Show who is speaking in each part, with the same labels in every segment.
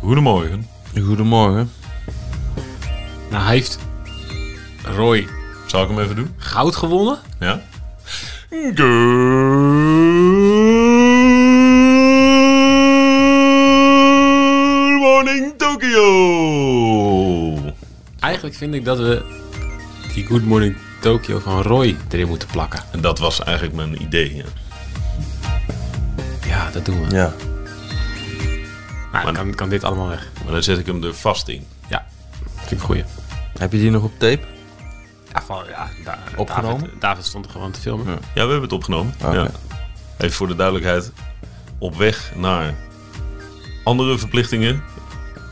Speaker 1: Goedemorgen.
Speaker 2: Goedemorgen.
Speaker 3: Nou, hij heeft Roy
Speaker 1: Zal ik hem even doen?
Speaker 3: goud gewonnen.
Speaker 1: Ja? Good morning Tokyo!
Speaker 3: Eigenlijk vind ik dat we die Good Morning Tokyo van Roy erin moeten plakken.
Speaker 1: En dat was eigenlijk mijn idee. Ja.
Speaker 3: Ja, dat doen we.
Speaker 2: Ja.
Speaker 3: Maar dan kan, kan dit allemaal weg.
Speaker 1: Maar dan zet ik hem er vast in.
Speaker 3: Ja, vind ik een goeie.
Speaker 2: Heb je die nog op tape?
Speaker 3: Ja, van, ja, da-
Speaker 2: Opgenomen?
Speaker 3: David, David stond er gewoon te filmen.
Speaker 1: Ja, we hebben het opgenomen.
Speaker 2: Oké.
Speaker 1: Ja. Even voor de duidelijkheid. Op weg naar andere verplichtingen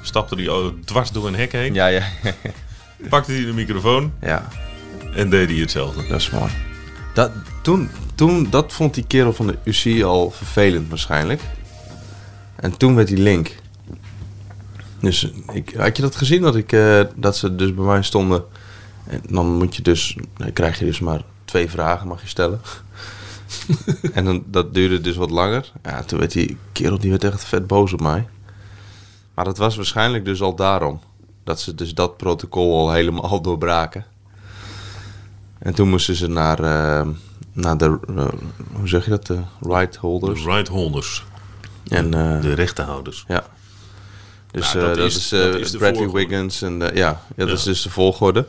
Speaker 1: stapte hij al dwars door een hek heen.
Speaker 2: Ja, ja.
Speaker 1: Pakte hij de microfoon
Speaker 2: ja,
Speaker 1: en deed hij hetzelfde.
Speaker 2: dat is mooi. Dat, toen, toen, dat vond die kerel van de UC al vervelend waarschijnlijk. En toen werd die link. Dus ik, had je dat gezien dat, ik, eh, dat ze dus bij mij stonden? En dan moet je dus, dan krijg je dus maar twee vragen mag je stellen. en dan, dat duurde dus wat langer. Ja, toen werd die kerel die werd echt vet boos op mij. Maar dat was waarschijnlijk dus al daarom. Dat ze dus dat protocol al helemaal doorbraken. En toen moesten ze naar, eh, naar de, eh, hoe zeg je dat, de right
Speaker 1: De
Speaker 2: holders.
Speaker 1: right holders,
Speaker 2: En, eh,
Speaker 1: de rechtenhouders.
Speaker 2: ja. Dus
Speaker 1: Nou,
Speaker 2: eh,
Speaker 1: dat
Speaker 2: dat,
Speaker 1: is-
Speaker 2: is, eh,
Speaker 1: dat is de
Speaker 2: Bradley
Speaker 1: volgorde.
Speaker 2: Wiggins en eh, ja, ja, dat
Speaker 1: Ja.
Speaker 2: is dus de volgorde.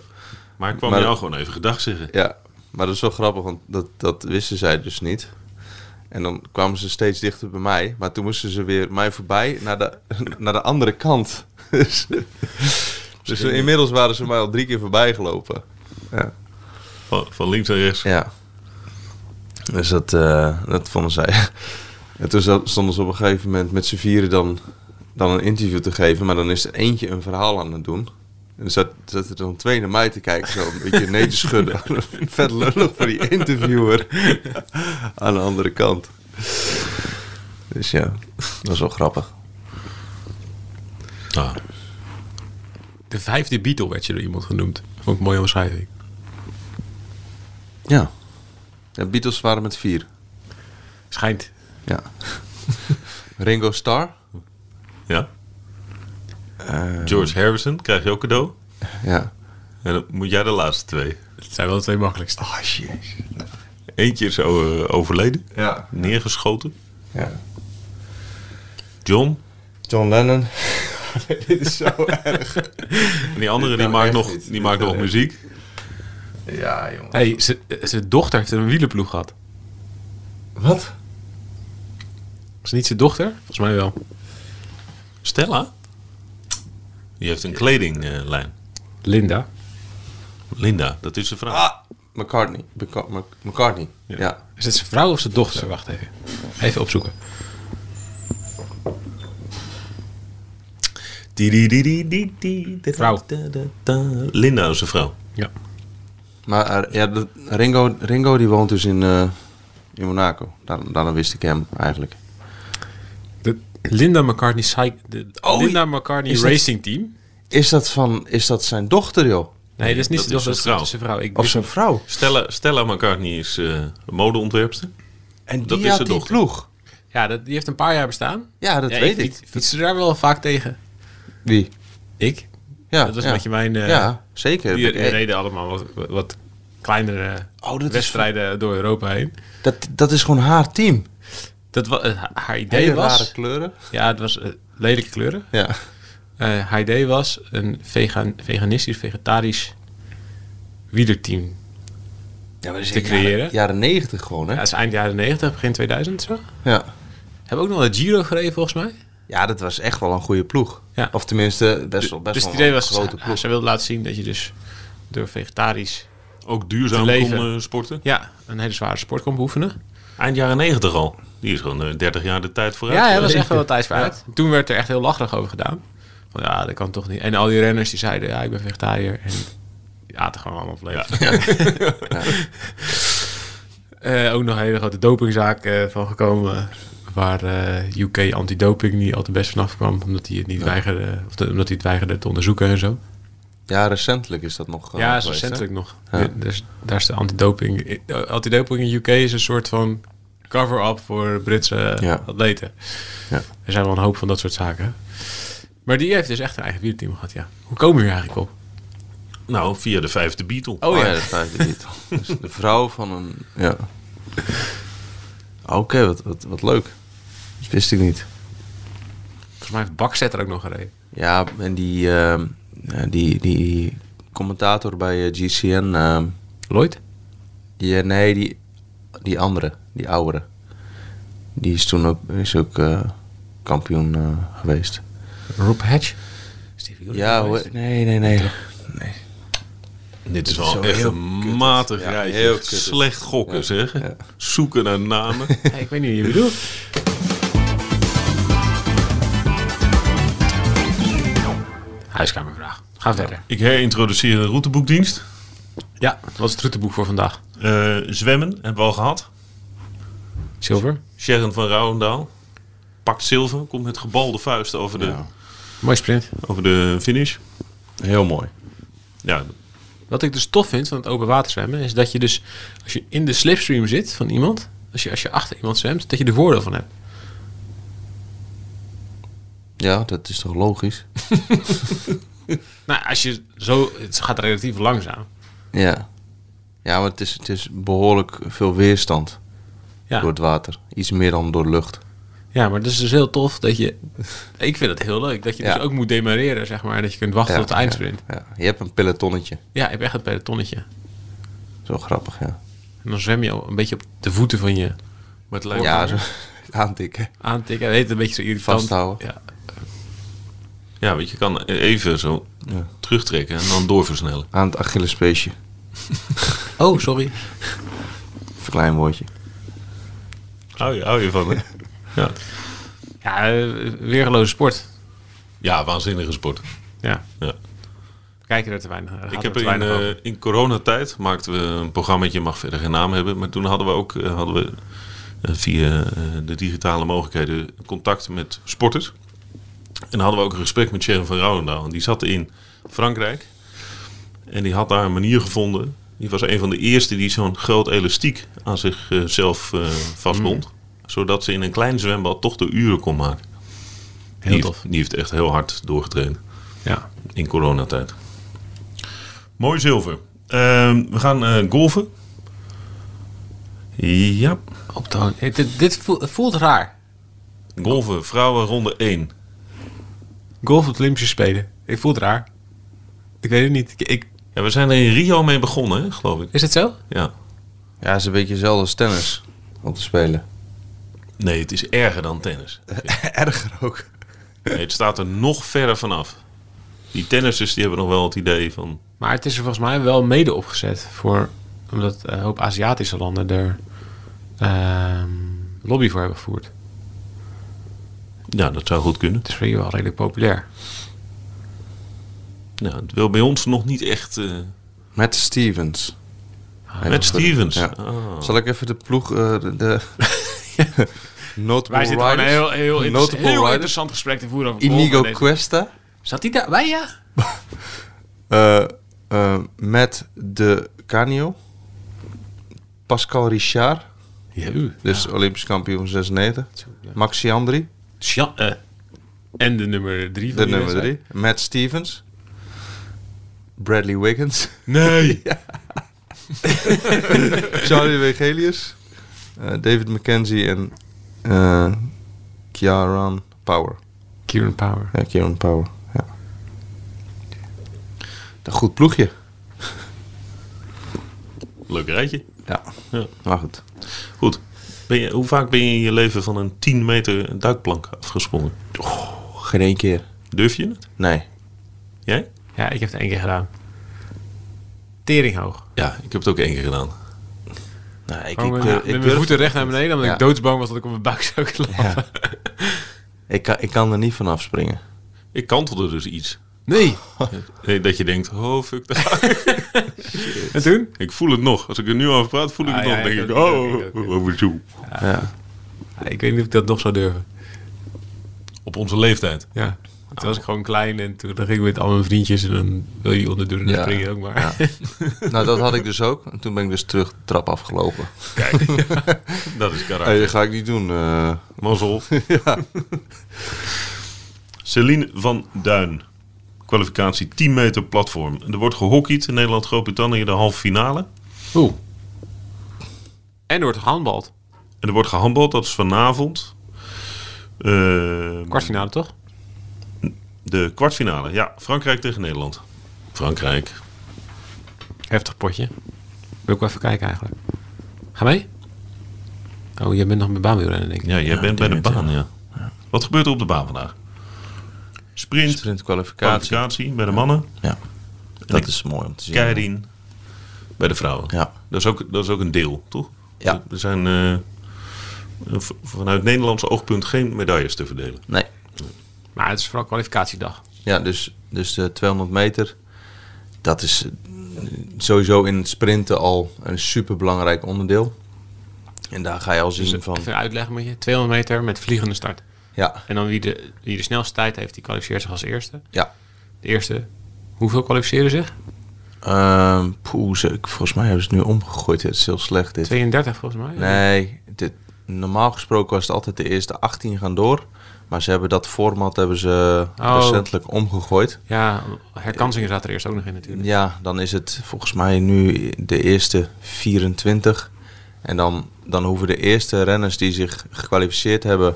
Speaker 1: Maar ik kwam
Speaker 2: Maar-
Speaker 1: jou gewoon even gedag zeggen.
Speaker 2: Ja, maar dat is wel grappig, want dat, dat wisten zij dus niet. En dan kwamen ze steeds dichter bij mij, maar toen moesten ze weer mij voorbij naar de, naar de andere kant. dus dus inmiddels waren ze mij al drie keer voorbij gelopen. Ja.
Speaker 1: Van, van links naar rechts.
Speaker 2: Ja. Dus dat, eh, dat vonden zij. En toen zat- stonden ze op een gegeven moment met z'n vieren dan, dan een interview te geven. Maar dan is er eentje een verhaal aan het doen. En er zat- zaten er dan twee naar mij te kijken. Zo een beetje nee te schudden. Vet lullig voor die interviewer. aan de andere kant. Dus ja, dat is wel grappig.
Speaker 1: Ah,
Speaker 3: De vijfde Beatle werd je door iemand genoemd. Vond ik een mooie omschrijving.
Speaker 2: Ja. De Beatles waren met vier.
Speaker 3: Schijnt.
Speaker 2: Ja. Ringo Starr.
Speaker 1: ja?
Speaker 2: Eh.
Speaker 1: George Harrison krijg je ook cadeau.
Speaker 2: Ja.
Speaker 1: En dan moet jij de laatste twee.
Speaker 3: Het zijn wel de twee makkelijkste.
Speaker 2: Oh, jeez.
Speaker 1: Eentje is o- eh, overleden,
Speaker 2: Ja.
Speaker 1: neergeschoten.
Speaker 2: Ja.
Speaker 1: John.
Speaker 2: John Lennon. Dit is zo erg.
Speaker 1: En die andere die
Speaker 2: Nou,
Speaker 1: maakt
Speaker 2: echt
Speaker 1: nog,
Speaker 2: niet.
Speaker 1: die maakt nog muziek.
Speaker 2: Ja, jongen.
Speaker 3: Hey, z- zijn dochter heeft een wielenploeg gehad.
Speaker 2: Wat?
Speaker 3: Is het niet zijn dochter? Volgens mij wel.
Speaker 1: Stella? Die heeft een kledinglijn.
Speaker 3: Linda.
Speaker 1: Linda, dat is de vraag.
Speaker 2: Ah. McCartney. Beca- Mc- McCartney. Ja.
Speaker 3: Is het zijn vrouw of zijn dochter? Wacht even. Even opzoeken.
Speaker 1: Di-di-di-di-di-di.
Speaker 3: Vrouw.
Speaker 1: Linda is een vrouw.
Speaker 3: Ja.
Speaker 2: Maar eh, ja, dat- Ringo, Ringo die woont dus in, eh, in Monaco. Daarom, daarom wist ik hem eigenlijk.
Speaker 3: De Linda McCartney Cy- de
Speaker 2: Oh,
Speaker 3: Linda McCartney
Speaker 2: is dat-
Speaker 3: Racing Team.
Speaker 2: Is dat, van, is dat zijn dochter, joh?
Speaker 3: Nee, dat is niet
Speaker 1: dat
Speaker 3: dat
Speaker 1: is
Speaker 3: dat
Speaker 1: zijn
Speaker 3: is
Speaker 1: vrouw.
Speaker 3: zijn vrouw. Ik
Speaker 2: Of
Speaker 3: wist-
Speaker 2: zijn vrouw?
Speaker 1: Stella, Stella McCartney is eh modeontwerpster.
Speaker 2: En die
Speaker 1: Dat is
Speaker 2: had
Speaker 1: zijn
Speaker 2: die
Speaker 1: dochter.
Speaker 2: ploeg.
Speaker 3: ja, dat, die heeft een paar jaar bestaan.
Speaker 2: Ja, dat
Speaker 3: Ja,
Speaker 2: weet ik.
Speaker 3: fiets- Fietsen daar wel vaak tegen.
Speaker 2: Wie?
Speaker 3: Ik.
Speaker 2: Ja,
Speaker 3: Dat was
Speaker 2: ja.
Speaker 3: een beetje mijn... eh,
Speaker 2: ja, zeker.
Speaker 3: Die
Speaker 2: Ik- eh,
Speaker 3: reden allemaal wat, wat kleinere
Speaker 2: Oh, dat is-
Speaker 3: wedstrijden door Europa heen.
Speaker 2: dat, dat is gewoon haar team.
Speaker 3: Dat wa- eh, ha- haar idee
Speaker 2: Hele
Speaker 3: was...
Speaker 2: rare kleuren.
Speaker 3: Ja, het was eh, lelijke kleuren.
Speaker 2: Ja.
Speaker 3: Eh, haar idee was een vegan, veganistisch, vegetarisch wielerteam.
Speaker 2: ja maar
Speaker 3: Te creëren.
Speaker 2: Jaren negentig gewoon, hè?
Speaker 3: Ja, dat is eind jaren 90, begin 2000 zo.
Speaker 2: Ja.
Speaker 3: Hebben ook nog wel de Giro gereden volgens mij.
Speaker 2: Ja, dat was echt wel een goede ploeg.
Speaker 3: Ja.
Speaker 2: Of tenminste, best wel, best
Speaker 3: dus
Speaker 2: wel
Speaker 3: het idee
Speaker 2: een
Speaker 3: was,
Speaker 2: grote
Speaker 3: ze,
Speaker 2: ploeg.
Speaker 3: ze wilde laten zien dat je dus door vegetarisch
Speaker 1: Ook
Speaker 3: Te
Speaker 1: duurzaam kon
Speaker 3: leven.
Speaker 1: eh, sporten.
Speaker 3: ja, een hele zware sport kon beoefenen.
Speaker 1: Eind jaren 90 al. Die is gewoon eh, 30 jaar de tijd vooruit.
Speaker 3: Ja, ja, dat was
Speaker 1: geweest.
Speaker 3: echt wel wat tijd vooruit. Toen werd er echt heel lacherig over gedaan. Van ja, dat kan toch niet. En al die renners die zeiden, ja, ik ben vegetariër. En die aten gewoon allemaal vlees. Eh, ook nog een hele grote dopingzaak eh, van gekomen. Waar eh, UK antidoping niet al te best vanaf kwam. Omdat hij het niet weigerde, of de- omdat hij het weigerde te onderzoeken en zo.
Speaker 2: Ja, recentelijk is dat nog. eh,
Speaker 3: ja, is
Speaker 2: geweest, hè?
Speaker 3: recentelijk nog.
Speaker 2: Ja.
Speaker 3: Dus, daar is de antidoping. eh, Antidoping in UK is een soort van cover-up voor Britse
Speaker 2: Ja.
Speaker 3: atleten.
Speaker 2: Ja.
Speaker 3: Er zijn wel een hoop van dat soort zaken. Maar die heeft dus echt een eigen wielerteam gehad, ja. Hoe komen we hier eigenlijk op?
Speaker 1: Nou, via de vijfde Beatle.
Speaker 2: Oh ja, dat vijfde niet. Dus de vrouw van een. Ja. Ah, Oké, wat, wat, wat leuk. Dat wist ik niet.
Speaker 3: Volgens mij heeft Bakzet er ook nog gereden.
Speaker 2: Ja, en die, ehm, ja, die, die commentator bij eh, GCN. ehm,
Speaker 3: Lloyd?
Speaker 2: die, eh, nee, die, die andere, die oudere. Die is toen ook, is ook eh, kampioen eh, geweest.
Speaker 3: Rob Hatch? Stevie Wonder
Speaker 2: Ja,
Speaker 3: geweest.
Speaker 2: hoor. Nee, nee,
Speaker 3: Oh,
Speaker 2: nee. nee.
Speaker 1: Dit is
Speaker 2: zo
Speaker 1: wel echt
Speaker 2: heel
Speaker 1: een
Speaker 2: kut.
Speaker 1: matig
Speaker 2: Ja,
Speaker 1: rijtje.
Speaker 2: heel kut.
Speaker 1: Slecht gokken, zeg.
Speaker 2: ja.
Speaker 1: Zoeken naar namen.
Speaker 3: Hey, ik weet niet wat je bedoelt. Huiskamervraag. Ga verder.
Speaker 1: Ik herintroduceer een routeboekdienst.
Speaker 3: Ja, wat is het routeboek voor vandaag?
Speaker 1: Eh, zwemmen hebben we al gehad.
Speaker 3: Zilver?
Speaker 1: Sharon van Rouwendaal pakt zilver. Komt met gebalde vuisten over de,
Speaker 3: Mooi sprint.
Speaker 1: over de finish.
Speaker 2: Heel mooi.
Speaker 1: Ja,
Speaker 3: Wat ik dus tof vind van het open water zwemmen, is dat je dus als je in de slipstream zit van iemand, als je, als je achter iemand zwemt, dat je er voordeel van hebt.
Speaker 2: Ja, dat is toch logisch?
Speaker 3: Nou, als je zo, het gaat relatief langzaam.
Speaker 2: Ja. Ja, maar het is, het is behoorlijk veel weerstand door
Speaker 3: Ja,
Speaker 2: het water. Iets meer dan door lucht.
Speaker 3: ja maar het is dus heel tof dat je. Ik vind het heel leuk dat je
Speaker 2: Ja.
Speaker 3: dus ook moet demareren, zeg maar, en dat je kunt wachten
Speaker 2: Ja,
Speaker 3: tot de eindsprint.
Speaker 2: Ja, ja. Je hebt een pelotonnetje.
Speaker 3: Ja, ik heb echt het pelotonnetje.
Speaker 2: Zo grappig, ja.
Speaker 3: En dan zwem je al een beetje op de voeten van je
Speaker 1: maar het lijkt
Speaker 2: Ja,
Speaker 1: me-
Speaker 2: zo aantikken.
Speaker 3: aantikken. Weet je, een beetje zo irritant.
Speaker 2: Vasthouden.
Speaker 3: Ja.
Speaker 1: ja, want je kan even zo terugtrekken en dan doorversnellen.
Speaker 2: Aan het Achillespeesje.
Speaker 3: Oh, sorry.
Speaker 2: Verklein woordje.
Speaker 1: Hou
Speaker 2: Oh,
Speaker 1: je, hou je van, hè? ja.
Speaker 3: Ja, eh, weergeloze sport.
Speaker 1: ja, waanzinnige sport.
Speaker 3: Ja.
Speaker 1: Ja.
Speaker 3: We Kijken er te weinig. er gaat
Speaker 1: Ik heb
Speaker 3: te
Speaker 1: in,
Speaker 3: weinig over.
Speaker 1: eh, in coronatijd maakten we een programma, je mag verder geen naam hebben. Maar toen hadden we ook eh, hadden we, eh, via eh, de digitale mogelijkheden contact met sporters. En hadden we ook een gesprek met Sharon van Rouwendaal. En die zat in Frankrijk. En die had daar een manier gevonden. Die was een van de eerste die zo'n groot elastiek aan zichzelf eh, vastbond. Zodat ze in een klein zwembad toch de uren kon maken.
Speaker 3: Mm. Heel
Speaker 1: die,
Speaker 3: tof.
Speaker 1: Heeft, die heeft echt heel hard doorgetraind
Speaker 3: Ja.
Speaker 1: in coronatijd. Mooi zilver. Ehm, we gaan eh, golven. Ja,
Speaker 3: Op de hang- Eh, Dit, dit voelt, het voelt raar.
Speaker 1: golven, vrouwen ronde 1.
Speaker 3: Golf op de Olympische Spelen. Ik voel het raar. Ik weet het niet. Ik, ik-
Speaker 1: Ja, we zijn er in Rio mee begonnen, hè, geloof ik.
Speaker 3: is het zo?
Speaker 1: Ja.
Speaker 2: Ja, is een beetje hetzelfde als tennis. Om te spelen.
Speaker 1: Nee, het is erger dan tennis.
Speaker 2: Erger ook.
Speaker 1: Nee, het staat er nog verder vanaf. Die tennissers die hebben nog wel het idee van...
Speaker 3: Maar het is er volgens mij wel mede opgezet voor... omdat eh, een hoop Aziatische landen er ehm, lobby voor hebben gevoerd.
Speaker 1: Ja, dat zou goed kunnen.
Speaker 3: Het is voor hier wel redelijk populair.
Speaker 1: Ja, Nou, het wil bij ons nog niet echt... eh,
Speaker 2: Met Stevens.
Speaker 1: met Stevens.
Speaker 2: Ja.
Speaker 1: Ah.
Speaker 2: Zal ik even de ploeg... eh, de, de Notable riders. Notable riders.
Speaker 3: gesprek te voeren over
Speaker 2: Inigo Cuesta.
Speaker 3: Zat hij daarbij, ja?
Speaker 2: eh, eh, met de Canio. Pascal Richard.
Speaker 3: Ja, u.
Speaker 2: Dus Olympisch kampioen van 96. Maxi Andri.
Speaker 3: Sja- eh, en de nummer drie van
Speaker 2: De
Speaker 3: die
Speaker 2: nummer
Speaker 3: wedstrijd.
Speaker 2: drie. Matt Stevens. Bradley Wiggins.
Speaker 3: Nee!
Speaker 2: Charlie Wegelius. eh, David McKenzie en eh Kieran Power.
Speaker 3: Kieran Power.
Speaker 2: Ja, Kieran Power. Ja. Een goed ploegje.
Speaker 1: Leuk rijtje.
Speaker 2: Ja.
Speaker 1: Ja.
Speaker 2: Maar goed.
Speaker 1: Goed. Ben je, hoe vaak ben je in je leven van een 10 meter duikplank afgesprongen?
Speaker 2: Geen één keer.
Speaker 1: Durf je het?
Speaker 2: Nee.
Speaker 1: Jij?
Speaker 3: Ja, ik heb het één keer gedaan. Teringhoog.
Speaker 1: Ja, ik heb het ook één keer gedaan.
Speaker 2: Nou, ik,
Speaker 3: Gewoon
Speaker 2: ik,
Speaker 3: met,
Speaker 2: durf-
Speaker 3: met
Speaker 2: ik
Speaker 3: mijn
Speaker 2: durf-
Speaker 3: voeten recht naar beneden, omdat
Speaker 2: Ja.
Speaker 3: ik doodsbang was dat ik op mijn buik zou klappen.
Speaker 2: Ja. ik, kan, ik kan er niet van afspringen.
Speaker 1: Ik kantelde dus iets.
Speaker 3: Nee.
Speaker 1: Nee, Dat je denkt, oh fuck, daar ga ik.
Speaker 3: En toen?
Speaker 1: ik voel het nog. Als ik er nu over praat, voel ik
Speaker 3: Ah,
Speaker 1: het
Speaker 3: ja,
Speaker 1: nog. Dan
Speaker 3: ik
Speaker 1: denk ik,
Speaker 3: ook, ik ook,
Speaker 1: oh,
Speaker 3: ik ook.
Speaker 1: oh, oh, zo.
Speaker 2: Ja.
Speaker 3: Ja, ik weet niet of ik dat nog zou durven.
Speaker 1: Op onze leeftijd.
Speaker 3: Ja. Toen was ik gewoon klein en toen dan ging ik met al mijn vriendjes en dan wil je onder doen en dan
Speaker 2: Ja.
Speaker 3: spring je ook maar.
Speaker 2: Nou, dat had ik dus ook. En toen ben ik dus terug de trap afgelopen.
Speaker 1: Dat is karakter.
Speaker 3: Ah,
Speaker 2: Hey, dat ga ik niet doen. eh.
Speaker 1: Mazzel. Celine van Duin. Kwalificatie 10 meter platform. Er wordt gehockeyd in Nederland-Groot-Brittannië de halve finale.
Speaker 3: Oeh. En wordt handbald.
Speaker 1: En er wordt gehandbald, dat is vanavond. Ehm,
Speaker 3: Kwartfinale toch?
Speaker 1: De kwartfinale, ja. Frankrijk tegen Nederland. Frankrijk.
Speaker 3: Heftig potje. Wil ik wel even kijken eigenlijk. Ga mee? Oh, jij bent nog met baanwielrennen denk ik.
Speaker 1: Ja, jij bent bij de
Speaker 2: denk het,
Speaker 1: baan, ja. Wat gebeurt er op de baan vandaag? Sprint,
Speaker 2: Sprintkwalificatie.
Speaker 1: kwalificatie bij de mannen.
Speaker 2: Ja. Dat is mooi om te zien.
Speaker 1: Keirin bij de vrouwen.
Speaker 2: Ja.
Speaker 1: Dat is ook, dat is ook een deel, toch?
Speaker 2: Ja.
Speaker 1: Er zijn eh, v- vanuit Nederlands oogpunt geen medailles te verdelen.
Speaker 2: Nee.
Speaker 3: Maar het is vooral kwalificatiedag.
Speaker 2: Ja, dus, dus de 200 meter. Dat is eh, sowieso in het sprinten al een superbelangrijk onderdeel. En daar ga je al zien van...
Speaker 3: Even uitleggen moet je. 200 meter met vliegende start.
Speaker 2: Ja,
Speaker 3: En dan wie de, wie de snelste tijd heeft, die kwalificeert zich als eerste.
Speaker 2: ja.
Speaker 3: De eerste, hoeveel kwalificeren zich?
Speaker 2: Ehm, poeh, ze- ik- volgens mij hebben ze het nu omgegooid. Het is heel slecht dit.
Speaker 3: 32 volgens mij.
Speaker 2: Nee, dit, normaal gesproken was het altijd de eerste 18 gaan door. Maar ze hebben dat format hebben ze
Speaker 3: Oh.
Speaker 2: recentelijk omgegooid.
Speaker 3: Ja, herkansingen zaten er eerst ook nog in natuurlijk.
Speaker 2: Ja, dan is het volgens mij nu de eerste 24. En dan, dan hoeven de eerste renners die zich gekwalificeerd hebben,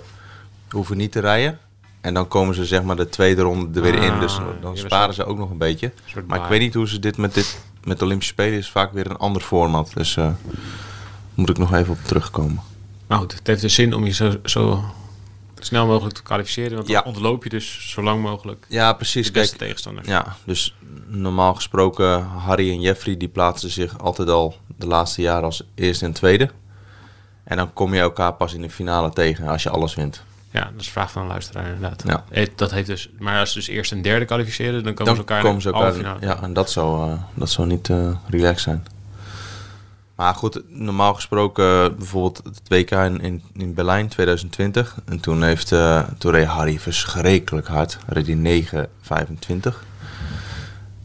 Speaker 2: hoeven niet te rijden. En dan komen ze zeg maar de tweede ronde er weer in.
Speaker 3: Ah,
Speaker 2: Dus
Speaker 3: ja,
Speaker 2: dan
Speaker 3: dat is
Speaker 2: sparen
Speaker 3: een
Speaker 2: ze ook nog een beetje.
Speaker 3: soort
Speaker 2: Maar ik
Speaker 3: baai.
Speaker 2: weet niet hoe ze dit met, dit met de Olympische Spelen is vaak weer een ander format. Dus eh moet ik nog even op terugkomen.
Speaker 3: Maar goed, het heeft dus zin om je zo, zo snel mogelijk te kwalificeren. Want dan
Speaker 2: Ja.
Speaker 3: ontloop je dus zo lang mogelijk
Speaker 2: Ja, precies.
Speaker 3: de beste
Speaker 2: Kijk,
Speaker 3: tegenstanders.
Speaker 2: ja, dus normaal gesproken Harry en Jeffrey die plaatsen zich altijd al de laatste jaren als eerste en tweede. En dan kom je elkaar pas in de finale tegen als je alles wint.
Speaker 3: Ja, dat is een vraag van een luisteraar inderdaad.
Speaker 2: Ja.
Speaker 3: Het- Dat heeft dus, maar als ze dus eerst en derde kwalificeren, dan komen
Speaker 2: Dan
Speaker 3: ze elkaar
Speaker 2: komen ze
Speaker 3: in de halve
Speaker 2: elkaar.
Speaker 3: finale.
Speaker 2: Ja, en dat zou, eh, dat zou niet eh relaxed zijn. Maar goed, normaal gesproken eh, bijvoorbeeld het WK in, in, in Berlijn 2020. En toen, heeft, eh, toen reed Harry verschrikkelijk hard. Reed hij 9,25.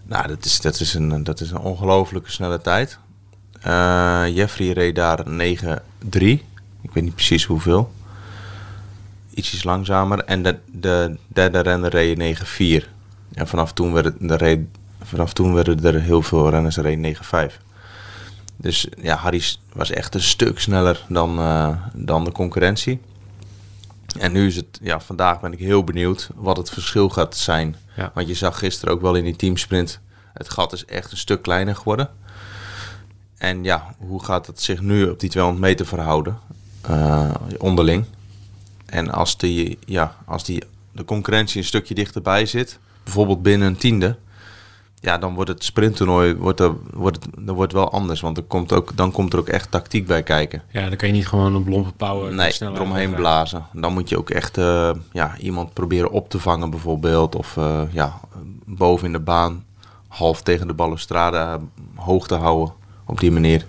Speaker 2: Nou, dat is, dat is een, dat is een ongelooflijke snelle tijd. Eh, Jeffrey reed daar 9,3. Ik weet niet precies hoeveel. Ietsjes langzamer. En de, de derde renner reed 9,4. En vanaf toen, werd het, er reed, vanaf toen werden er heel veel renners reed 9,5. Dus ja, Harry s- was echt een stuk sneller dan, eh, dan de concurrentie. En nu is het, ja, vandaag ben ik heel benieuwd wat het verschil gaat zijn.
Speaker 3: Ja.
Speaker 2: Want je zag gisteren ook wel in die teamsprint, het gat is echt een stuk kleiner geworden. En ja, hoe gaat het zich nu op die 200 meter verhouden eh, onderling? En als, die, ja, als die, de concurrentie een stukje dichterbij zit, bijvoorbeeld binnen een tiende, ja, dan wordt het sprinttoernooi wordt er, wordt het, dan wordt wel anders. Want er komt ook, dan komt er ook echt tactiek bij kijken.
Speaker 3: Ja, dan kan je niet gewoon op lompe power
Speaker 2: Nee,
Speaker 3: sneller
Speaker 2: eromheen
Speaker 3: aangaan.
Speaker 2: blazen. Dan moet je ook echt eh, ja, iemand proberen op te vangen bijvoorbeeld. Of eh, ja, boven in de baan, half tegen de balustrade eh, hoog te houden. Op die manier.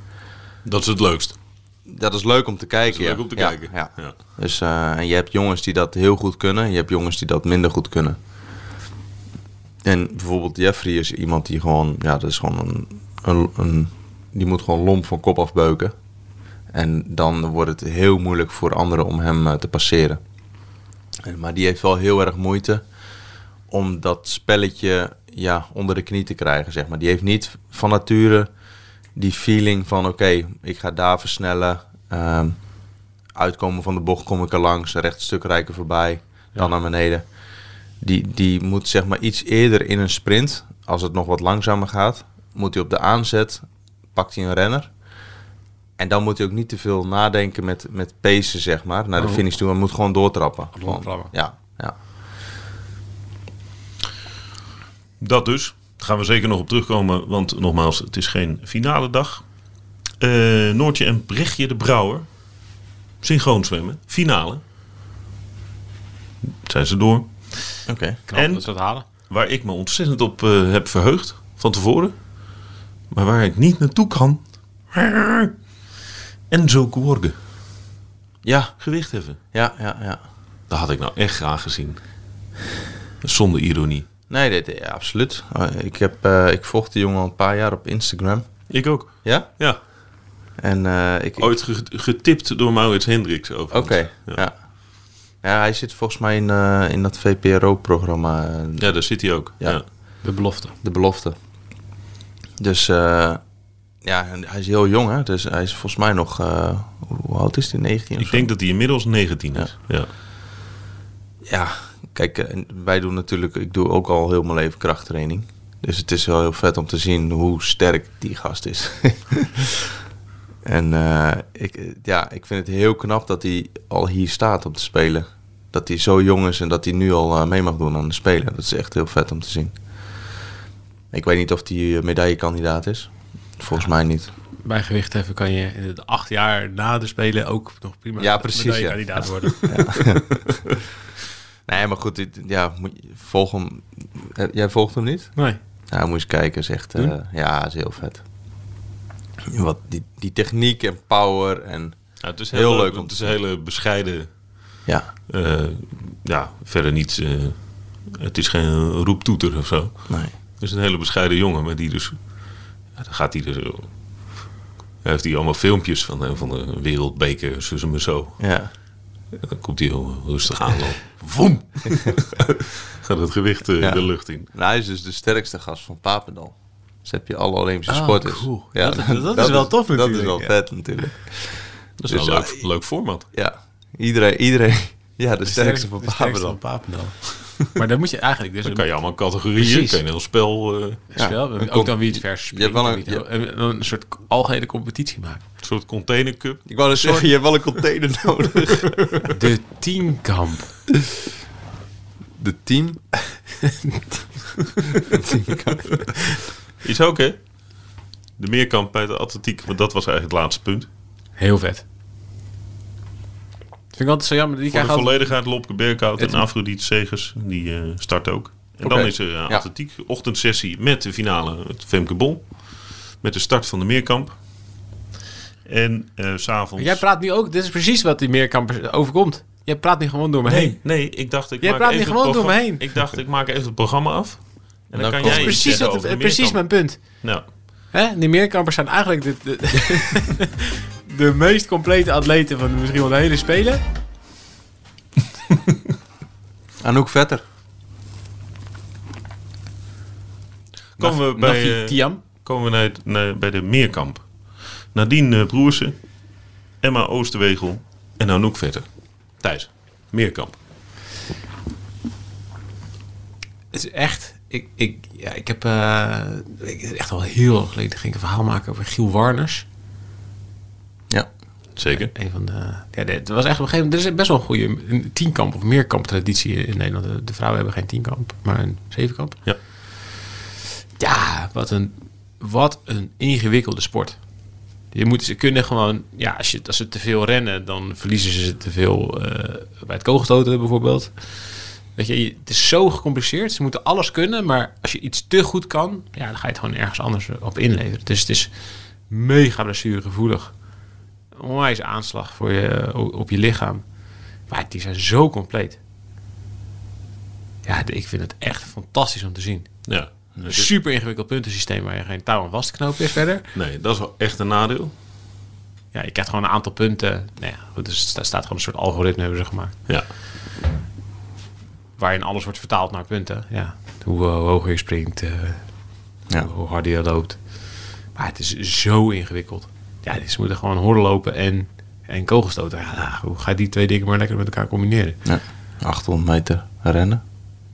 Speaker 1: Dat is het leukst.
Speaker 2: Dat is leuk om te kijken.
Speaker 1: Dat is leuk
Speaker 2: ja.
Speaker 1: om te
Speaker 2: Ja,
Speaker 1: kijken.
Speaker 2: ja.
Speaker 1: Ja.
Speaker 2: Dus, eh, en je hebt jongens die dat heel goed kunnen. Je hebt jongens die dat minder goed kunnen. En bijvoorbeeld Jeffrey is iemand die gewoon... Ja, dat is gewoon een... een, een- die moet gewoon lomp van kop afbeuken. En dan wordt het heel moeilijk voor anderen om hem eh, te passeren. En- Maar die heeft wel heel erg moeite om dat spelletje ja, onder de knie te krijgen, zeg maar. Die heeft niet van nature die feeling van... oké, ik ga daar versnellen... ehm, uitkomen van de bocht kom ik er langs, recht stuk rijken voorbij, dan naar beneden. Die, die moet zeg maar iets eerder in een sprint, als het nog wat langzamer gaat, moet hij op de aanzet, pakt hij een renner. En dan moet hij ook niet te veel nadenken met, met pacen, zeg maar, naar de
Speaker 3: Oh.
Speaker 2: finish toe. Hij moet gewoon doortrappen. Gewoon-
Speaker 3: Doortrappen.
Speaker 2: Ja, ja.
Speaker 1: Dat dus. Daar gaan we zeker nog op terugkomen, want nogmaals, het is geen finale dag. Eh, Noortje en Brechtje de Brouwer. Synchroon zwemmen. Finale. Zijn ze door.
Speaker 2: Oké.
Speaker 3: Knap
Speaker 1: En-
Speaker 3: dat ze dat halen.
Speaker 1: Waar ik me ontzettend op eh, heb verheugd. Van tevoren. Maar waar ik niet naartoe kan. Enzo Kworge.
Speaker 2: Ja,
Speaker 1: Gewicht heffen.
Speaker 2: ja, ja, ja.
Speaker 1: Dat had ik nou echt graag gezien. Zonder ironie.
Speaker 2: Nee, dit, ja, absoluut. Eh, Ik, heb, eh, ik volg die jongen al een paar jaar op Instagram.
Speaker 1: Ik ook.
Speaker 2: Ja?
Speaker 1: Ja.
Speaker 2: En eh, ik... ik-
Speaker 1: Ooit ge- getipt door Maurits Hendricks over.
Speaker 2: Oké, ja. ja. hij zit volgens mij in, eh, in dat VPRO-programma, eh,
Speaker 1: Ja, daar zit hij ook.
Speaker 2: Ja.
Speaker 1: Ja.
Speaker 3: De belofte.
Speaker 2: De Belofte. Dus eh, ja, en hij is heel jong, hè? Dus hij is volgens mij nog... eh, hoe- hoe oud is hij? 19 of
Speaker 1: Ik
Speaker 2: zo?
Speaker 1: denk dat hij inmiddels 19 is. Ja.
Speaker 2: Ja, kijk, eh, wij doen natuurlijk, ik doe ook al heel mijn leven krachttraining. Dus het is wel heel vet om te zien hoe sterk die gast is. en eh, ik, eh, ja, ik vind het heel knap dat hij al hier staat om te spelen. Dat hij zo jong is en dat hij nu al eh, mee mag doen aan de Spelen. Dat is echt heel vet om te zien. Ik weet niet of hij medaillekandidaat is. Volgens mij niet.
Speaker 3: Bij gewichtheffen kan je in de acht jaar na de Spelen ook nog prima
Speaker 2: Ja, precies, ja.
Speaker 3: kandidaat worden.
Speaker 2: Nee, maar goed, dit- ja, moet je- volg hem. Eh, Jij volgt hem niet?
Speaker 3: Nee.
Speaker 2: Ja, moet je eens kijken, zegt. eh ja, is heel vet. Wat, die, die techniek en power en...
Speaker 1: Ja, het is
Speaker 2: Heel leuk om
Speaker 1: Het
Speaker 2: te
Speaker 1: is een hele bescheiden.
Speaker 2: Ja,
Speaker 1: eh, ja, verder niet. eh, het is geen roeptoeter of zo.
Speaker 2: nee.
Speaker 1: Het is een hele bescheiden jongen, maar die dus. Ja, dan gaat hij dus. eh, Hij heeft hier allemaal filmpjes van, eh, van de wereldbeker, zussen en zo.
Speaker 2: Ja,
Speaker 1: En Dan komt hij heel rustig aan. Dan. Voem! Gaat het gewicht eh,
Speaker 2: Ja.
Speaker 1: de lucht in.
Speaker 2: nou, hij is dus de sterkste gast van Papendal. Dus heb je alle Olympische sporters. Ja,
Speaker 3: Dat- dat is wel tof
Speaker 2: Dat is
Speaker 3: natuurlijk,
Speaker 2: wel
Speaker 3: ja.
Speaker 2: vet natuurlijk.
Speaker 1: Dat is
Speaker 2: Dus,
Speaker 1: wel een
Speaker 2: ah,
Speaker 1: Nou, leuk, leuk format.
Speaker 2: Ja, iedereen... iedereen ja, de, sterkste van
Speaker 3: De sterkste
Speaker 2: Papendal.
Speaker 3: van Papendal. maar dan moet je eigenlijk... Dus
Speaker 1: Dan
Speaker 3: een
Speaker 1: kan je allemaal categorieën,
Speaker 3: Precies.
Speaker 1: kan je een heel spel, eh, een
Speaker 3: spel-
Speaker 2: Ja, een
Speaker 3: ook
Speaker 2: comp-
Speaker 3: dan wie het vers
Speaker 2: hebt wel een- je-
Speaker 3: en dan een soort algehele competitie maken.
Speaker 1: soort containercup.
Speaker 2: Ik wou dus zeggen, je hebt wel een container nodig.
Speaker 3: De teamkamp.
Speaker 2: De team...
Speaker 1: Is ook, hè? De meerkamp bij de atletiek, want dat was eigenlijk het laatste punt. Voor
Speaker 3: Heel vet. vind ik altijd zo jammer. Die
Speaker 1: de
Speaker 3: krijgen altijd-
Speaker 1: volledigheid Lopke Berkhout en Afrodite Segers, die eh, start ook. En
Speaker 2: Oké.
Speaker 1: dan is er eh,
Speaker 2: Ja.
Speaker 1: atletiek, ochtendsessie met de finale, het Femke Bol. Met de start van de meerkamp. En eh, s'avonds...
Speaker 3: Jij praat nu ook... Dit is precies wat die meerkampers overkomt. Jij praat nu gewoon door me heen.
Speaker 1: Nee, nee, ik dacht ik
Speaker 3: Jij
Speaker 1: maak
Speaker 3: praat
Speaker 1: even
Speaker 3: hier gewoon
Speaker 1: het
Speaker 3: door me
Speaker 1: programma-
Speaker 3: heen.
Speaker 1: Ik dacht ik maak even het programma af. En dan,
Speaker 2: Dan
Speaker 1: kan
Speaker 2: komt-
Speaker 1: jij iets
Speaker 3: Precies,
Speaker 1: zeggen
Speaker 3: dat
Speaker 1: over de
Speaker 3: het, precies
Speaker 1: meerkamp.
Speaker 3: mijn punt.
Speaker 1: Nou,
Speaker 3: Hè? Die meerkampers zijn eigenlijk de, de, de meest complete atleten van misschien wel de hele Spelen.
Speaker 2: Anouk Vetter.
Speaker 1: komen we bij...
Speaker 3: Nafi
Speaker 1: eh,
Speaker 3: Tiam.
Speaker 1: komen we naar, het- naar- bij de Meerkamp. Nadine eh, Broersen, Emma Oosterwegel en Anouk Vetter. Thijs, Meerkamp.
Speaker 3: Het is echt. Ik, ik, ja, ik heb eh, ik, echt al heel lang geleden ging ik een verhaal maken over Giel Warners.
Speaker 2: Ja.
Speaker 1: Zeker.
Speaker 3: Een van de, ja, de- het was echt op een gegeven moment. Er is best wel een goede een tienkamp of meerkamp traditie in Nederland. De, de vrouwen hebben geen tienkamp, maar een zevenkamp.
Speaker 1: Ja.
Speaker 3: Ja, wat een, wat een ingewikkelde sport. Je moet, ze kunnen gewoon, ja, als, je, als ze te veel rennen, dan verliezen ze te veel eh, bij het kogelstoten bijvoorbeeld. Weet je, je- het is zo gecompliceerd. Ze moeten alles kunnen, maar als je iets te goed kan, ja, dan ga je het gewoon ergens anders op inleveren. Dus het is mega blessuregevoelig. Onwijs aanslag voor je, eh, op je lichaam. Maar die zijn zo compleet. Ja, ik vind het echt fantastisch om te zien.
Speaker 1: Ja. Dus
Speaker 3: Een super ingewikkeld puntensysteem waar je geen touw aan vast te knopen is verder.
Speaker 1: Nee, dat is wel echt een nadeel.
Speaker 3: Ja, je krijgt gewoon een aantal punten. Nou ja, goed, dus daar staat gewoon een soort algoritme hebben ze gemaakt.
Speaker 1: Ja.
Speaker 3: Waarin alles wordt vertaald naar punten. Ja, hoe, eh, hoe hoger je springt, eh,
Speaker 2: Ja.
Speaker 3: hoe harder je loopt. Maar het is zo ingewikkeld. Ja, dus ze moeten gewoon horden lopen en, en kogelstoten. Ja, nou, hoe ga je die twee dingen maar lekker met elkaar combineren?
Speaker 2: ja. 800 meter rennen.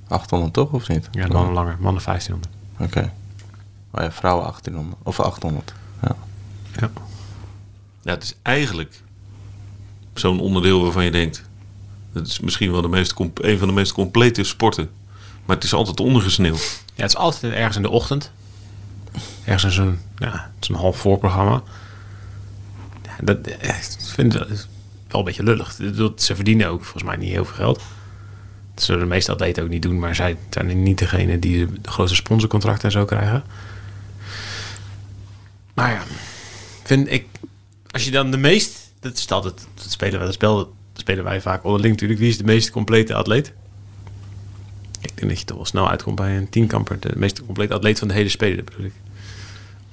Speaker 2: 800 toch, of niet?
Speaker 3: Ja, de mannen langer, mannen 1500.
Speaker 2: Oké. Maar ja, vrouwen 1800. Of 800. Ja.
Speaker 3: Ja.
Speaker 1: ja, het is eigenlijk zo'n onderdeel waarvan je denkt... Het is misschien wel de meest com- een van de meest complete sporten. Maar het is altijd ondergesneeuwd.
Speaker 3: Ja, het is altijd ergens in de ochtend. Ergens in zo'n ja, het is een half voorprogramma. dat, eh, ik vind het wel een beetje lullig. Ik bedoel, Ze verdienen ook volgens mij niet heel veel geld. Dat zullen de meeste atleten ook niet doen, maar zij zijn niet degene die de grote sponsorcontracten en zo krijgen. Maar ja, vind ik, als je dan de meest, dat is altijd, dat spelen wij, dat spel, dat spelen wij vaak onderling natuurlijk. Wie is de meest complete atleet? Ik denk dat je toch wel snel uitkomt bij een tienkamper. De meest complete atleet van de hele speler, bedoel ik.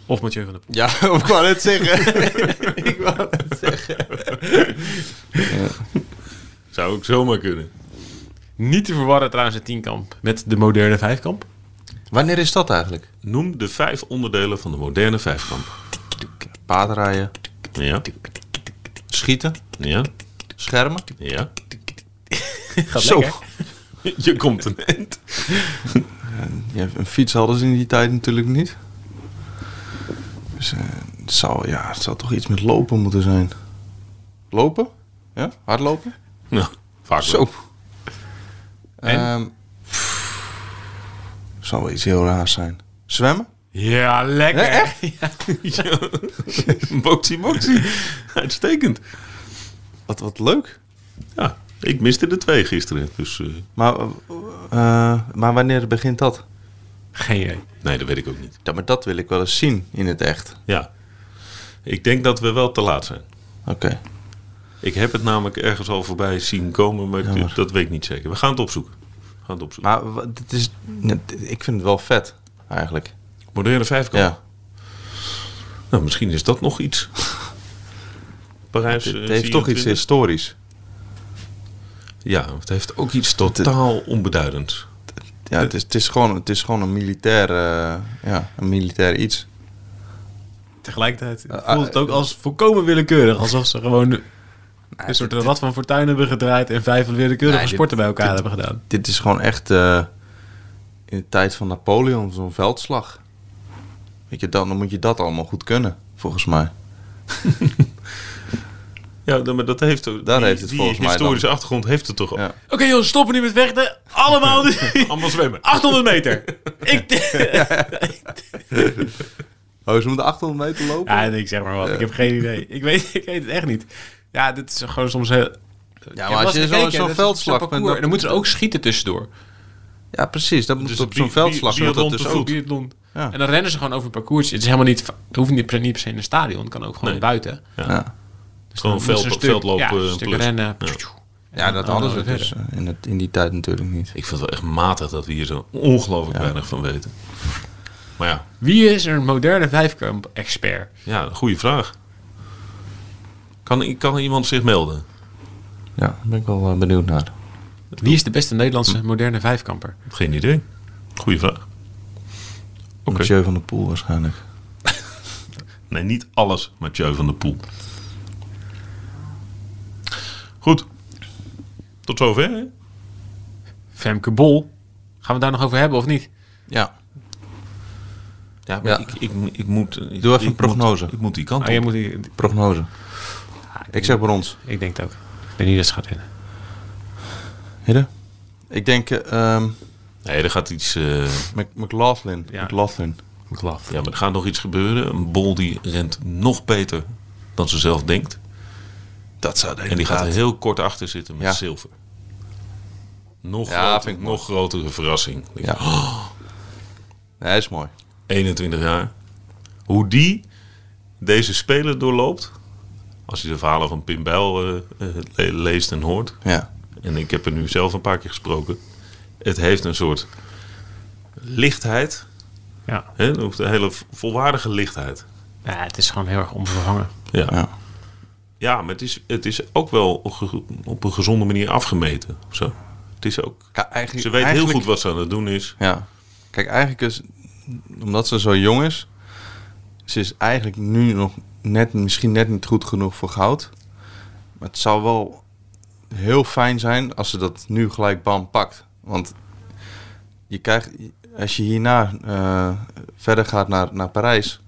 Speaker 3: Of Mathieu van der Poel.
Speaker 2: Ja, ik wou het zeggen. ik wou het zeggen.
Speaker 1: Zou ook zomaar kunnen.
Speaker 3: Niet te verwarren trouwens een tienkamp met de moderne vijfkamp.
Speaker 2: Wanneer is dat eigenlijk?
Speaker 1: Noem de vijf onderdelen van de moderne vijfkamp.
Speaker 2: Paardrijden,
Speaker 1: Ja,
Speaker 2: schieten,
Speaker 1: ja,
Speaker 2: schermen.
Speaker 1: ja.
Speaker 3: Gaat
Speaker 2: Zo.
Speaker 3: lekker.
Speaker 1: Je komt een eind.
Speaker 2: Ja, een fiets hadden ze in die tijd natuurlijk niet. Dus eh, het, zou, ja, het zou toch iets met lopen moeten zijn. Lopen? Ja, hardlopen?
Speaker 1: Nou, vaak wel.
Speaker 2: Zo.
Speaker 3: En?
Speaker 2: Ehm, pff, zou wel iets heel raars zijn. Zwemmen?
Speaker 3: Ja, lekker.
Speaker 2: Ja, echt?
Speaker 1: Ja. Boxie, boxie. Uitstekend.
Speaker 2: Wat, wat leuk.
Speaker 1: Ja, ik miste de twee gisteren. Dus eh,
Speaker 2: Maar, eh, eh, maar wanneer begint dat?
Speaker 3: Geen idee.
Speaker 1: nee, dat weet ik ook niet.
Speaker 2: Ja, maar dat wil ik wel eens zien in het echt.
Speaker 1: Ja, ik denk dat we wel te laat zijn.
Speaker 2: Oké.
Speaker 1: Ik heb het namelijk ergens al voorbij zien komen, maar
Speaker 2: Jammer.
Speaker 1: dat weet ik niet zeker. We gaan het opzoeken. We gaan het opzoeken.
Speaker 2: Maar wa- dit is, net- ik vind het wel vet, eigenlijk.
Speaker 1: Moderne vijfkamp.
Speaker 2: Ja.
Speaker 1: Nou, misschien is dat nog iets. Parijs
Speaker 2: Het
Speaker 1: eh,
Speaker 2: heeft toch iets
Speaker 1: 24.
Speaker 2: historisch.
Speaker 1: Ja, het heeft ook iets totaal onbeduidends.
Speaker 2: Ja, het is, het is, gewoon, het is gewoon een militair, eh, ja, een militair iets.
Speaker 3: Tegelijkertijd
Speaker 2: Ah,
Speaker 3: voelt het ook als volkomen willekeurig. Alsof ze gewoon een soort rad van fortuin hebben gedraaid... en vijf willekeurige
Speaker 2: Nee, dit-
Speaker 3: sporten bij elkaar hebben gedaan.
Speaker 2: Dit is gewoon echt eh, in de tijd van Napoleon zo'n veldslag. Weet je, dan, dan moet je dat allemaal goed kunnen, volgens mij.
Speaker 1: Ja, dan- maar dat heeft ook.
Speaker 2: Daar
Speaker 1: die,
Speaker 2: heeft het
Speaker 1: die
Speaker 2: volgens mij
Speaker 1: historische achtergrond heeft het toch
Speaker 2: Ja.
Speaker 3: Oké jongens, stoppen nu met vechten. Allemaal
Speaker 1: al. Allemaal zwemmen.
Speaker 3: 800 meter. ik,
Speaker 2: Oh, ze moeten 800 meter lopen?
Speaker 3: ja, ik zeg maar wat. Ik heb geen idee. Ik weet, ik weet het echt niet. Ja, dit is gewoon soms heel...
Speaker 2: Ja, maar als je zo'n zo'n veldslag bent...
Speaker 3: Dan
Speaker 2: Dan,
Speaker 3: moeten ze ook schieten tussendoor.
Speaker 2: ja, precies. Dat moet
Speaker 1: Dus
Speaker 2: op
Speaker 1: bi-
Speaker 2: zo'n
Speaker 1: bi-
Speaker 2: veldslag moet dat
Speaker 1: biathlon
Speaker 2: dus
Speaker 1: te
Speaker 2: ook.
Speaker 1: voet.
Speaker 3: Biathlon.
Speaker 2: Ja.
Speaker 3: En dan rennen ze gewoon over een parcoursje. Het is helemaal niet, het hoeft niet, per- niet per se in een stadion. Het kan ook gewoon
Speaker 1: Nee.
Speaker 3: buiten.
Speaker 2: Ja,
Speaker 3: Dus
Speaker 1: Gewoon
Speaker 3: dan moeten ze
Speaker 1: veld-
Speaker 3: stuk-
Speaker 1: veldloop,
Speaker 3: ja,
Speaker 1: eh,
Speaker 3: een stuk
Speaker 1: plus.
Speaker 3: rennen.
Speaker 1: Ja.
Speaker 2: ja dat
Speaker 3: dan
Speaker 2: hadden
Speaker 3: gaan
Speaker 2: ze
Speaker 3: we
Speaker 2: dus eh, in, het, in die tijd natuurlijk niet.
Speaker 1: Ik vind het wel echt matig dat we hier zo ongelooflijk weinig van weten. Maar ja,
Speaker 3: Wie is een moderne vijfkamp-expert?
Speaker 1: ja een goede vraag. Kan, kan iemand zich melden?
Speaker 2: Ja, daar ben ik wel eh, benieuwd naar.
Speaker 3: Wie is de beste Nederlandse moderne vijfkamper?
Speaker 1: Geen idee. Goeie vraag. Oké.
Speaker 2: Mathieu van der Poel waarschijnlijk.
Speaker 1: Nee, niet alles Mathieu van der Poel. Goed. Tot zover. hè?
Speaker 3: Femke Bol. Gaan we het daar nog over hebben of niet?
Speaker 2: Ja.
Speaker 1: Ja, maar
Speaker 2: Ja.
Speaker 1: Ik, ik, ik moet... Doe
Speaker 2: even een prognose.
Speaker 1: ik Ah, moet die kant
Speaker 3: Oh, jij
Speaker 1: op.
Speaker 3: moet, ik,
Speaker 2: Prognose. Ah, Ik zeg brons.
Speaker 3: ik denk het ook. Ik ben niet dat ze gaat winnen.
Speaker 2: Hidde? Ik denk eh, ehm
Speaker 1: Nee, er gaat iets... eh,
Speaker 2: Mc- McLaughlin.
Speaker 3: Ja.
Speaker 2: McLaughlin.
Speaker 3: McLaughlin.
Speaker 1: ja, maar er gaat nog iets gebeuren. Een bol die rent nog beter dan ze zelf denkt.
Speaker 2: Dat zou
Speaker 1: En die gaat er heel kort achter zitten met
Speaker 2: Ja.
Speaker 1: zilver. Nog,
Speaker 2: Ja,
Speaker 1: groter-
Speaker 2: vind ik mooi.
Speaker 1: nog grotere verrassing. Ik
Speaker 2: Ja.
Speaker 1: denk,
Speaker 2: Nee, is mooi.
Speaker 1: 21 jaar. Hoe die deze speler doorloopt. Als je de verhalen van Pim Bijl eh, eh, le- leest en hoort.
Speaker 2: Ja.
Speaker 1: En ik heb er nu zelf een paar keer gesproken. Het heeft een soort lichtheid.
Speaker 3: Ja.
Speaker 1: Hè? Een hele volwaardige lichtheid.
Speaker 3: Ja, het is gewoon heel erg onvervangen.
Speaker 1: Ja,
Speaker 2: ja.
Speaker 1: ja maar het is, het is ook wel op ge- op een gezonde manier afgemeten. of Zo. Het is ook,
Speaker 2: Ka- eigenlijk,
Speaker 1: ze weet
Speaker 2: eigenlijk-
Speaker 1: heel goed wat ze aan het doen is.
Speaker 2: Ja. Kijk, eigenlijk is... Omdat ze zo jong is... Ze is eigenlijk nu nog net, misschien net niet goed genoeg voor goud. Maar het zou wel heel fijn zijn als ze dat nu gelijk bam pakt. Want je krijgt, als je hierna eh, verder gaat naar, naar Parijs,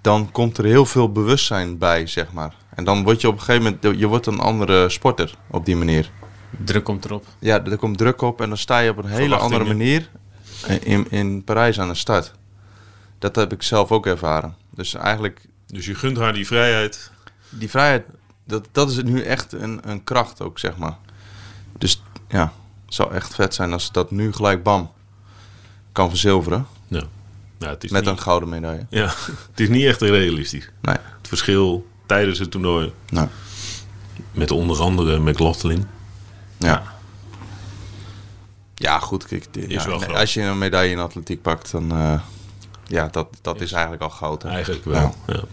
Speaker 2: dan komt er heel veel bewustzijn bij, zeg maar. En dan word je op een gegeven moment, je wordt een andere sporter op die manier.
Speaker 3: Druk komt erop.
Speaker 2: Ja, er komt druk op en dan sta je op een hele
Speaker 1: Verwachtingen.
Speaker 2: andere manier in, in Parijs aan de start. Dat heb ik zelf ook ervaren. Dus eigenlijk,
Speaker 1: Dus je gunt haar die vrijheid.
Speaker 2: die vrijheid, dat, dat is nu echt een, een kracht ook, zeg maar. Dus ja, het zou echt vet zijn als ze dat nu gelijk bam kan verzilveren.
Speaker 1: Ja. Nou, het is
Speaker 2: Met
Speaker 1: niet,
Speaker 2: een gouden medaille.
Speaker 1: Ja, het is niet echt realistisch.
Speaker 2: Nee,
Speaker 1: Het verschil tijdens het toernooi
Speaker 2: nou,
Speaker 1: met onder andere McLaughlin.
Speaker 2: ja. Ja, goed, kijk, dit-
Speaker 1: Is
Speaker 2: ja,
Speaker 1: wel
Speaker 2: nee,
Speaker 1: groot.
Speaker 2: als je een medaille in atletiek pakt, dan... eh, ja, dat, dat is eigenlijk al goud. hè.
Speaker 1: Eigenlijk wel. Ja.
Speaker 3: Nou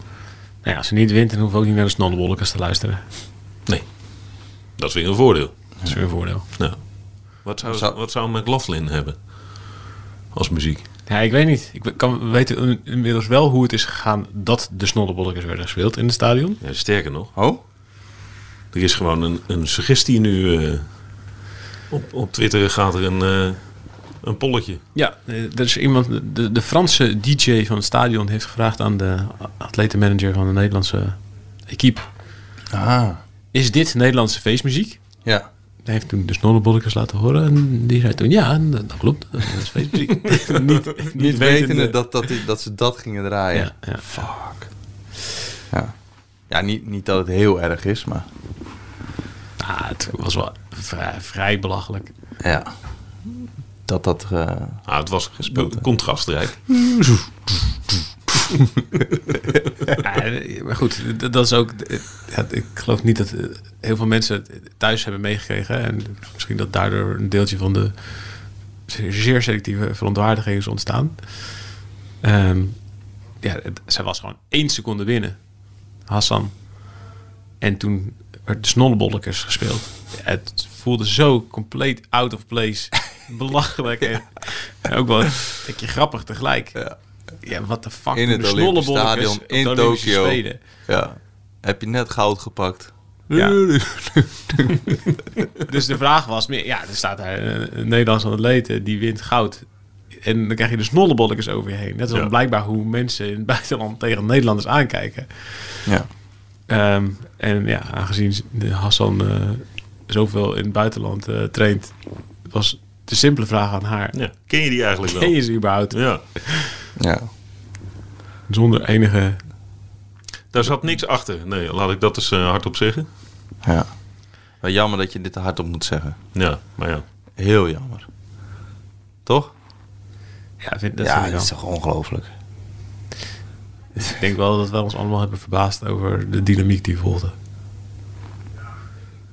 Speaker 3: ja, als ze niet wint, dan hoeven we ook niet naar de snoddenbolkers te luisteren.
Speaker 1: Nee, dat is weer een voordeel.
Speaker 3: Dat is weer een voordeel.
Speaker 1: Ja. Wat, zou,
Speaker 2: Zou-
Speaker 1: wat zou McLaughlin hebben als muziek?
Speaker 3: Ja, ik weet niet. Ik kan, we weten in- inmiddels wel hoe het is gegaan dat de snoddenbolkers werden gespeeld in het stadion.
Speaker 1: Ja, sterker nog,
Speaker 2: Oh?
Speaker 1: er is gewoon een, een suggestie nu. eh, op, op Twitter gaat er een, eh, een polletje.
Speaker 3: Ja, eh, er is iemand, de, de Franse DJ van het stadion heeft gevraagd aan de a- atletenmanager van de Nederlandse equipe.
Speaker 2: Ah.
Speaker 3: Is dit Nederlandse feestmuziek?
Speaker 2: Ja.
Speaker 3: Hij heeft toen de snoddenbolkers laten horen en die zei toen, ja, dat, dat klopt, dat is feestmuziek. niet, niet
Speaker 2: Niet
Speaker 3: wetende.
Speaker 2: wetende dat, dat, die- dat ze dat gingen draaien.
Speaker 3: Ja, ja.
Speaker 2: Fuck. Ja, ja niet, niet dat het heel erg is, maar
Speaker 3: Ah, het was wel vrij, vrij belachelijk.
Speaker 2: ja. Dat dat... eh,
Speaker 1: Ah, het was contrastrijk.
Speaker 3: Ja, eh, maar goed, d- dat is ook. eh, ja, ik geloof niet dat eh, heel veel mensen het thuis hebben meegekregen. hè, En misschien dat daardoor een deeltje van de zeer- zeer selectieve verontwaardiging is ontstaan. Ehm, ja, het- zij was gewoon één seconde binnen, Hassan. En toen werd de snollebolkers gespeeld. Ja, Het voelde zo compleet out of place. Belachelijk. en- En ook wel een beetje grappig tegelijk. Ja, wat de fuck
Speaker 2: In
Speaker 3: doen
Speaker 2: het
Speaker 3: de
Speaker 2: Olympisch
Speaker 3: snollebolkers
Speaker 2: Stadion
Speaker 3: op de
Speaker 2: in
Speaker 3: Olympische
Speaker 2: Tokio.
Speaker 3: Spelen?
Speaker 2: ja. Heb je net goud gepakt?
Speaker 3: Ja. dus de vraag was meer, ja, er staat daar eh, een, een Nederlandse atlete die wint goud. En dan krijg je de snollebolletjes over je heen. Dat is dan
Speaker 1: Ja.
Speaker 3: blijkbaar hoe mensen in het buitenland tegen Nederlanders aankijken.
Speaker 2: Ja.
Speaker 3: Ehm, en ja, aangezien de Hassan eh, zoveel in het buitenland eh, traint, was de simpele vraag aan haar.
Speaker 1: Ja. Ken je die eigenlijk wel?
Speaker 3: Ken je ze überhaupt?
Speaker 1: Ja.
Speaker 2: Ja.
Speaker 3: Zonder enige...
Speaker 1: Daar zat niks achter. Nee, laat ik dat eens eh, hardop zeggen.
Speaker 2: ja. Wel jammer dat je dit te hardop moet zeggen.
Speaker 1: Ja, maar ja.
Speaker 2: Heel jammer. Toch?
Speaker 3: Ja, vind, dat
Speaker 2: ja,
Speaker 3: vind ik
Speaker 2: dat
Speaker 3: wel.
Speaker 2: is toch ongelooflijk?
Speaker 3: dus Ik denk wel dat wij ons allemaal hebben verbaasd over de dynamiek die volgde.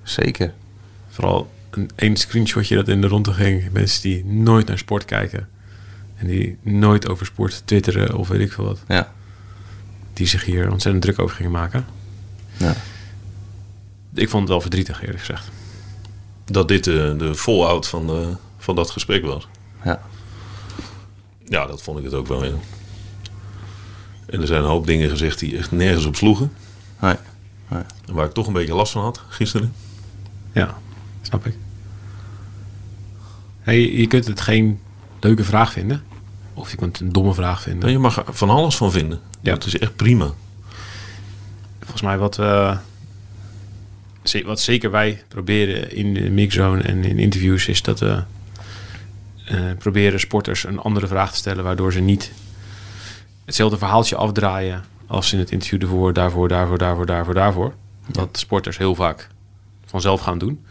Speaker 2: Zeker.
Speaker 3: Vooral een één screenshotje dat in de ronde ging. Mensen die nooit naar sport kijken. En die nooit over sport twitteren of weet ik veel wat.
Speaker 2: Ja.
Speaker 3: Die zich hier ontzettend druk over gingen maken.
Speaker 2: ja.
Speaker 3: Ik vond het wel verdrietig eerlijk gezegd.
Speaker 1: Dat dit eh, de fallout van, eh, van dat gesprek was.
Speaker 2: ja.
Speaker 1: Ja, dat vond ik het ook wel. ja. En er zijn een hoop dingen gezegd die echt nergens op sloegen.
Speaker 2: Hoi.
Speaker 1: En waar ik toch een beetje last van had gisteren.
Speaker 3: Ja, snap ik. Hey, je kunt het geen leuke vraag vinden. Of je kunt het een domme vraag vinden.
Speaker 1: Nou, je mag er van alles van vinden.
Speaker 3: Ja.
Speaker 1: Dat is echt prima.
Speaker 3: Volgens mij wat, eh, ze- wat zeker wij proberen in de mixzone en in interviews is dat we eh, proberen sporters een andere vraag te stellen waardoor ze niet hetzelfde verhaaltje afdraaien als in het interview ervoor, daarvoor, daarvoor, daarvoor, daarvoor, daarvoor. Dat sporters heel vaak vanzelf gaan doen.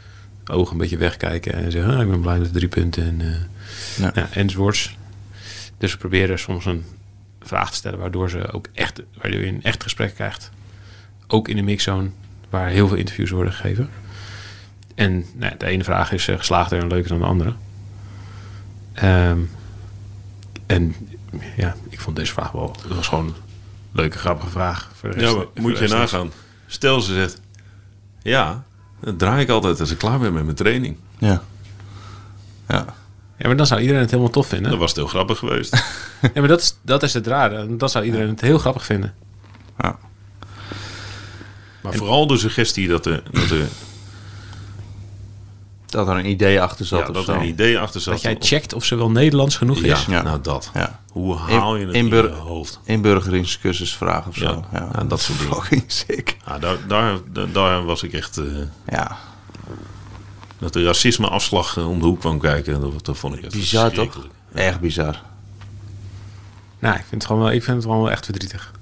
Speaker 3: Ogen een beetje wegkijken en zeggen, "Ah, ik ben blij met de drie punten en, eh,
Speaker 2: Ja.
Speaker 3: ja, enzovoorts. Dus we proberen soms een vraag te stellen waardoor, ze ook echt, waardoor je een echt gesprek krijgt ook in de mixzone, waar heel veel interviews worden gegeven. En nou, ja, de ene vraag is eh, geslaagder en leuker dan de andere. Ehm, en ja, ik vond deze vraag wel. Het was gewoon een leuke, grappige vraag. Voor de rest,
Speaker 1: Ja, maar
Speaker 3: voor de
Speaker 1: moet je
Speaker 3: rest niks.
Speaker 1: nagaan. Stel ze zegt, ja, dat draai ik altijd als ik klaar ben met mijn training.
Speaker 2: Ja. Ja.
Speaker 3: Ja, maar dan zou iedereen het helemaal tof vinden.
Speaker 1: Dat was het heel grappig geweest.
Speaker 3: Ja, maar dat is, dat is het rare. Dan zou iedereen het heel grappig vinden.
Speaker 2: Ja.
Speaker 1: Maar vooral de suggestie dat er, dat er,
Speaker 2: Dat er een idee achter zat
Speaker 1: ja,
Speaker 2: of
Speaker 1: dat
Speaker 2: zo.
Speaker 1: er een idee achter zat.
Speaker 3: Dat jij checkt of ze wel Nederlands genoeg
Speaker 1: ja,
Speaker 3: is.
Speaker 2: Ja.
Speaker 1: nou dat.
Speaker 2: Ja.
Speaker 1: Hoe haal je het in,
Speaker 2: Inbur-
Speaker 1: je hoofd?
Speaker 2: Inburgeringscursus vragen of zo.
Speaker 1: Ja, ja, dat soort dingen.
Speaker 2: Fucking sick.
Speaker 1: Ja, daar, daar, daar, daar was ik echt... eh,
Speaker 2: Ja.
Speaker 1: dat de racisme-afslag eh, om de hoek kwam kijken, dat, dat vond ik echt
Speaker 2: Bizar toch?
Speaker 1: verschrikkelijk.
Speaker 2: Echt bizar.
Speaker 3: Nou, ik vind, het gewoon wel, ik vind het gewoon wel echt verdrietig.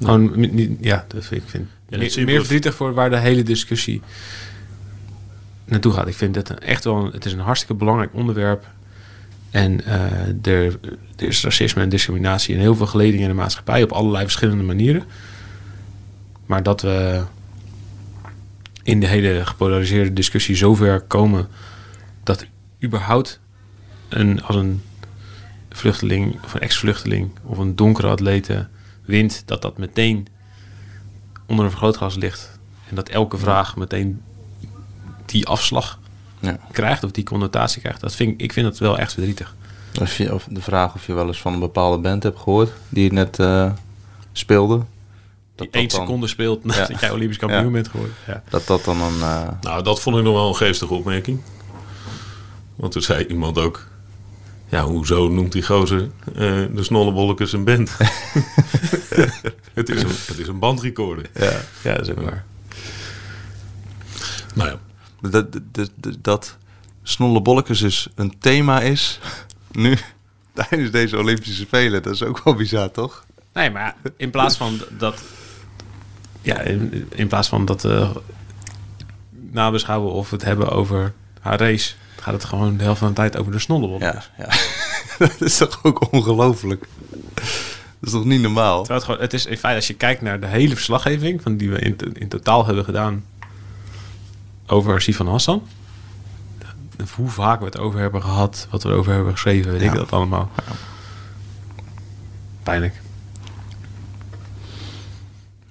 Speaker 3: Gewoon, mi- niet, ja, dat vind ik vind,
Speaker 1: dat
Speaker 3: meer,
Speaker 1: zie je
Speaker 3: meer
Speaker 1: wel.
Speaker 3: verdrietig voor waar de hele discussie naartoe gaat. Ik vind dat een- echt wel, een- het is een hartstikke belangrijk onderwerp. En eh, er, er is racisme en discriminatie in heel veel geledingen in de maatschappij op allerlei verschillende manieren. Maar dat we in de hele gepolariseerde discussie zover komen dat überhaupt een, als een vluchteling of een ex-vluchteling of een donkere atlete wint, dat dat meteen onder een vergrootglas ligt. En dat elke vraag meteen die afslag
Speaker 4: Ja.
Speaker 3: krijgt of die connotatie krijgt. Dat vind ik, ik vind dat wel echt verdrietig.
Speaker 4: Of je, of de vraag of je wel eens van een bepaalde band hebt gehoord die het net eh, speelde. Dat
Speaker 3: Die
Speaker 4: dat
Speaker 3: één
Speaker 4: dan-
Speaker 3: seconde speelt nadat
Speaker 4: Ja.
Speaker 3: jij Olympisch kampioen
Speaker 4: Ja.
Speaker 3: bent geworden. Ja.
Speaker 4: Dat dat dan een... eh,
Speaker 1: Nou, dat vond ik nog wel een geestige opmerking. Want toen zei iemand ook... Ja, hoezo noemt die gozer eh, de snollebolletjes een band? het, is een, het is een bandrecorder.
Speaker 3: Ja. dat is ook waar.
Speaker 1: Nou ja,
Speaker 2: Dat, dat- dat, dat, dat snolle bolletjes dus een thema is nu tijdens deze Olympische Spelen. Dat is ook wel bizar, toch?
Speaker 3: Nee, maar in plaats van d- dat... Ja, in, in plaats van dat eh, nabeschouwen of het hebben over haar race... gaat het gewoon de helft van de tijd over de snollebol.
Speaker 2: Ja, ja. dat is toch ook ongelooflijk? Dat is toch niet normaal?
Speaker 3: Terwijl het, gewoon, het is in feite, als je kijkt naar de hele verslaggeving... Van die we in, in totaal hebben gedaan over Sivan Hassan... hoe vaak we het over hebben gehad, wat we erover hebben geschreven... weet ik dat allemaal. Pijnlijk.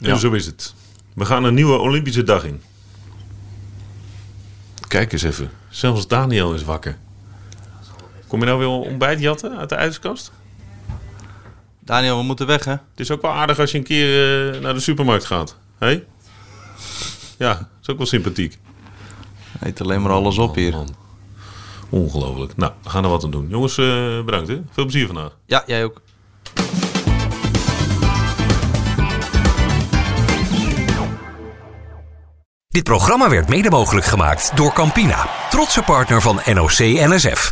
Speaker 1: en zo is het. We gaan een nieuwe Olympische dag in. Kijk eens even. Zelfs Daniel is wakker. Kom je nou weer ontbijt jatten uit de ijskast?
Speaker 2: Daniel, we moeten weg, hè?
Speaker 1: Het is ook wel aardig als je een keer eh, naar de supermarkt gaat. Hé? Ja, dat is ook wel sympathiek.
Speaker 2: Eet alleen maar alles op hier.
Speaker 1: Man. Ongelooflijk. Nou, we gaan er wat aan doen. Jongens, eh, bedankt hè. Veel plezier vandaag.
Speaker 2: Ja, jij ook.
Speaker 5: Dit programma werd mede mogelijk gemaakt door Campina, trotse partner van NOC NSF.